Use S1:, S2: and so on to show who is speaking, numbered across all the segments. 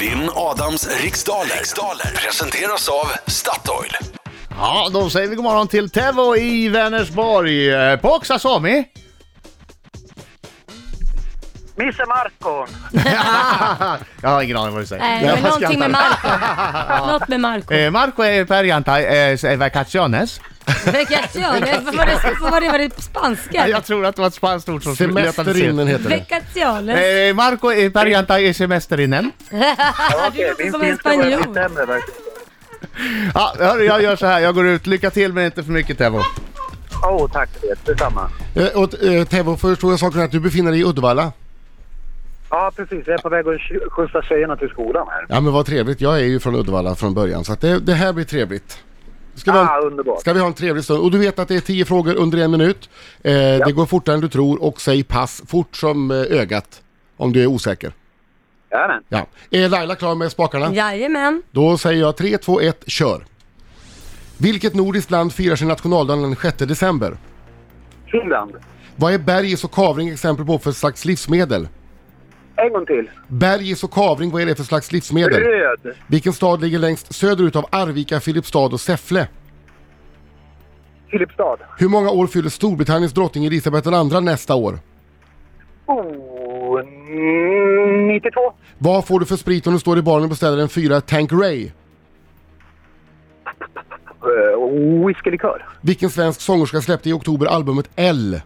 S1: Vinn Adams riksdaler. riksdaler presenteras av Statoil.
S2: Ja, då säger vi god morgon till Tevo i Vänersborg. Eh, På Oxasami.
S3: Missä Markko on?
S2: Jag har ingen aning vad du säger.
S4: Nej, det
S2: Jag
S4: var Eh, någonting med
S2: skrattar.
S4: Marco. Något med Marco.
S2: Eh, Marco är perjantai eh, vacaciones.
S4: Vacaciones, vad var det, vad var det, var det spanska?
S2: Jag tror att det var ett spanskt ord som
S5: Semesterinnen heter det.
S4: Vacaciones.
S2: Eh, Marco är perjantai semesterinen.
S4: Det låter som en spanjor.
S3: sämre verkligen.
S2: Ja, hörru, jag gör så här. Jag går ut. Lycka till men inte för mycket Tevo.
S3: Åh, oh, tack för det. Detsamma.
S5: Eh, Och eh, Tevo, förstår jag saken att du befinner dig i Uddevalla?
S3: Ja, precis. Jag är på väg att skj- skjutsa tjejerna till skolan här.
S5: Ja men vad trevligt, jag är ju från Uddevalla från början så att det, det här blir trevligt. Ska vi,
S3: Ah,
S5: ha,
S3: underbart.
S5: ska vi ha en trevlig stund? Och du vet att det är tio frågor under en minut. Eh, Det går fortare än du tror och säg pass fort som eh, ögat om du är osäker.
S3: Jajamän.
S5: Ja. Är Laila klar med spakarna?
S4: Jajamän.
S5: Då säger jag 3, 2, 1, kör! Vilket nordiskt land firar sin nationaldag den 6 december?
S3: Finland.
S5: Vad är bergis och kavring exempel på för slags livsmedel?
S3: En gång till.
S5: Bergis och kavring, vad är det för slags livsmedel?
S3: Röd.
S5: Vilken stad ligger längst söderut av Arvika, Filipstad och Säffle?
S3: Filipstad.
S5: Hur många år fyller Storbritanniens drottning Elisabeth II nästa år?
S3: Oh, mm, 92.
S5: Vad får du för sprit om du står i baren och beställer en fyra Tanqueray?
S3: Uh, whiskylikör.
S5: Vilken svensk sångerska släppte i oktober albumet L?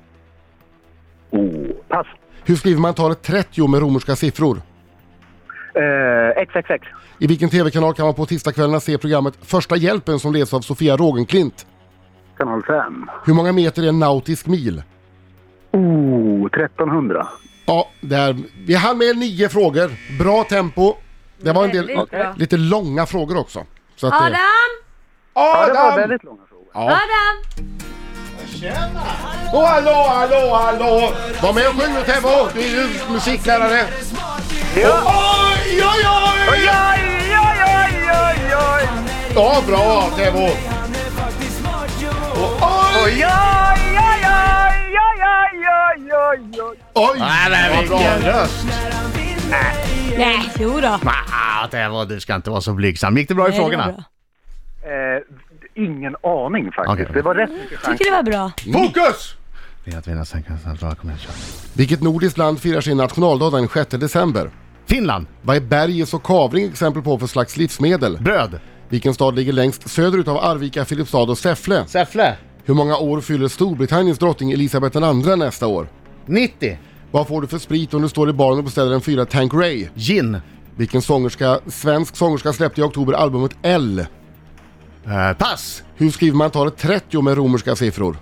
S3: Oh. Pass.
S5: Hur skriver man talet 30 med romerska siffror?
S3: Eh, XXX.
S5: I vilken tv-kanal kan man på tisdagskvällarna se programmet Första hjälpen som leds av Sofia Rogenklint?
S3: Kanal 5.
S5: Hur många meter är en nautisk mil?
S3: Oh, 1300.
S5: Ja, där. Vi hann med nio frågor. Bra tempo. Det var en del
S4: Väldigt bra.
S5: lite långa frågor också. Så att, eh,
S4: Adam!
S3: Ja, det var
S2: Adam!
S3: väldigt långa frågor.
S4: Adam!
S5: Åh, hallå, hallå, hallå! Var med och sjung nu Tebbo! Du är ju musiklärare. Oj, oj, oj! Ja, bra Tebbo! Oj, oj!
S2: Nej,
S5: Vad bra.
S2: röst!
S4: Nej, jodå.
S2: Ah, Tevo, du ska inte vara så blygsam. Gick det bra i
S4: Nej, det var
S2: frågorna?
S4: bra.
S3: Eh, ingen aning faktiskt.
S2: Okej.
S3: Det var rätt mycket
S4: Jag
S3: chanser.
S4: tycker det var bra.
S5: Fokus!
S2: Det är att vinna sänkan snabbt. Bra, kom igen, kör.
S5: Vilket nordiskt land firar sin nationaldag den 6 december?
S2: Finland.
S5: Vad är bergis och kavring exempel på för slags livsmedel?
S2: Bröd.
S5: Vilken stad ligger längst söderut av Arvika, Filipstad och Säffle?
S2: Säffle.
S5: Hur många år fyller Storbritanniens drottning Elisabeth II nästa år?
S2: 90.
S5: Vad får du för sprit om du står i baren och beställer en fyra Tanqueray?
S2: Gin.
S5: Vilken sångerska, svensk sångerska släppte i oktober albumet L?
S2: Eh, pass.
S5: Hur skriver man talet 30 med romerska siffror?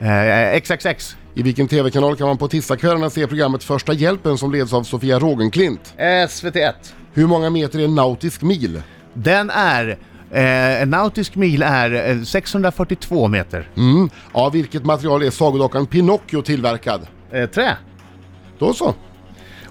S2: Eh, XXX.
S5: I vilken tv-kanal kan man på tisdagskvällarna se programmet Första hjälpen som leds av Sofia Rogenklint?
S2: SVT1.
S5: Hur många meter är en nautisk mil?
S2: Den är... Eh, en nautisk mil är eh, 642 meter.
S5: Mm. Av vilket material är sagodockan Pinocchio tillverkad?
S2: Eh, trä.
S5: Då så.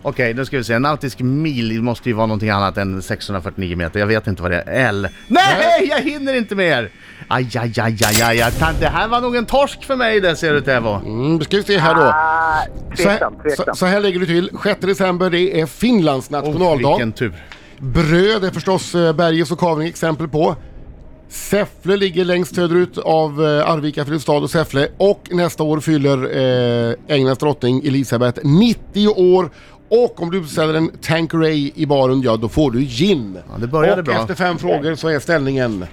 S2: Okej, nu ska vi se. En nautisk mil måste ju vara någonting annat än 649 meter. Jag vet inte vad det är. L. Nej, jag hinner inte mer! Aj, aj, aj, aj, aj, aj. Fan, Det här var nog en torsk för mig det ser du Tevo.
S5: Mm, ska vi se här då.
S3: Ah,
S5: Så här,
S3: tveksam, tveksam.
S5: så, så här lägger du till. 6 december, det är Finlands nationaldag.
S2: vilken tur.
S5: Bröd är förstås eh, Berges och Kavring exempel på. Säffle ligger längst söderut av eh, Arvika, Filipstad och Säffle och nästa år fyller eh, Englands drottning Elisabeth 90 år och om du beställer en Tanqueray i baren, ja då får du gin.
S2: det började
S5: och
S2: bra.
S5: efter fem frågor så är ställningen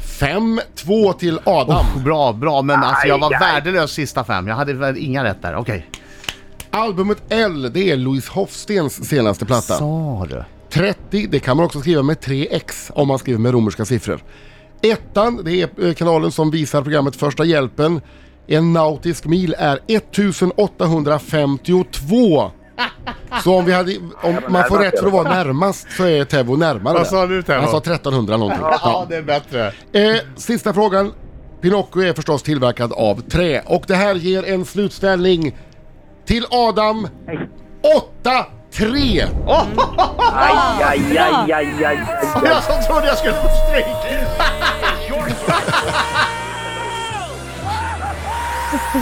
S5: 5-2 till Adam.
S2: Bra, bra, men alltså jag var
S3: Aj, aj.
S2: värdelös sista fem. Jag hade väl inga rätt där. Okej.
S5: Albumet L, det är Louise Hofstens senaste platta.
S2: Sa du?
S5: 30, det kan man också skriva med 3x om man skriver med romerska siffror. Ettan, det är eh, kanalen som visar programmet Första hjälpen. En nautisk mil är 1852. Så om, vi hade, om man får rätt för att vara närmast så är Tevvo närmare.
S2: Vad sa du, Tevvo?
S5: Han sa 1300 någonting. Ja.
S2: det är bättre.
S5: Eh, sista frågan. Pinocchio är förstås tillverkad av trä och det här ger en slutställning till Adam 8-3.
S3: Aj, aj, aj, aj, aj, aj.
S2: Jag som trodde jag skulle få stryk!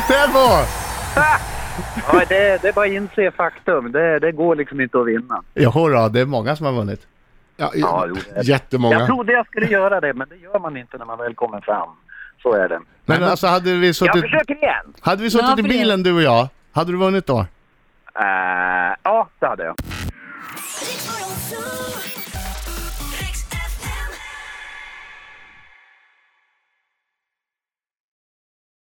S2: Tevo!
S3: Ja, det, det är bara att inse faktum. Det, det går liksom inte att vinna.
S2: Jodå, det är många som har vunnit.
S5: Ja,
S3: Ja, jo, det är-
S5: jättemånga.
S3: Jag trodde jag skulle göra det, men det gör man inte när man väl kommer fram. Så är det.
S2: Men alltså hade vi
S3: Jag
S2: suttit,
S3: försöker igen.
S2: hade vi suttit
S4: Ja,
S2: i
S4: för det.
S2: bilen du och jag, hade du vunnit då?
S3: Eh, Äh, ja, det hade jag.
S6: Riks Morgonzoo.